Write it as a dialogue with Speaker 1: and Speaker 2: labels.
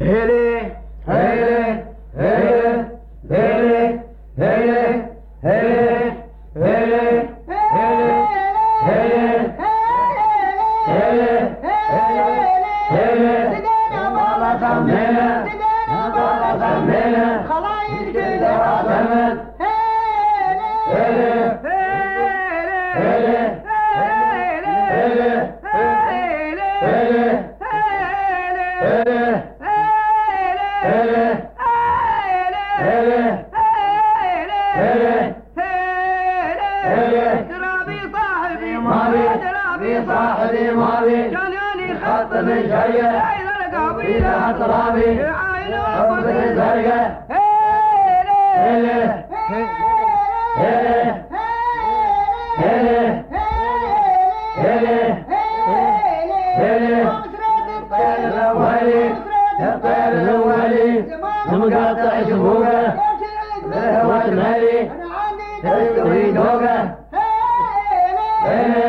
Speaker 1: Hele, hele, hele, hele, hele, hele, hele, hele, hele, hele, hele,
Speaker 2: bağlasam
Speaker 1: hele,
Speaker 2: bağlasam
Speaker 1: hele,
Speaker 2: Kalayır
Speaker 1: hele, azamet, hele, hele, hele, hele, hele, hele, hele, hele, hele, ماضي في صاحبي ماضي خطني جاية إلى أطرابي حطني زرقة هلا هلا هلا هلا هلا الطير الأولي الطير الأولي المقاطع شبوكة لهوة مالي تريد دوقة هلا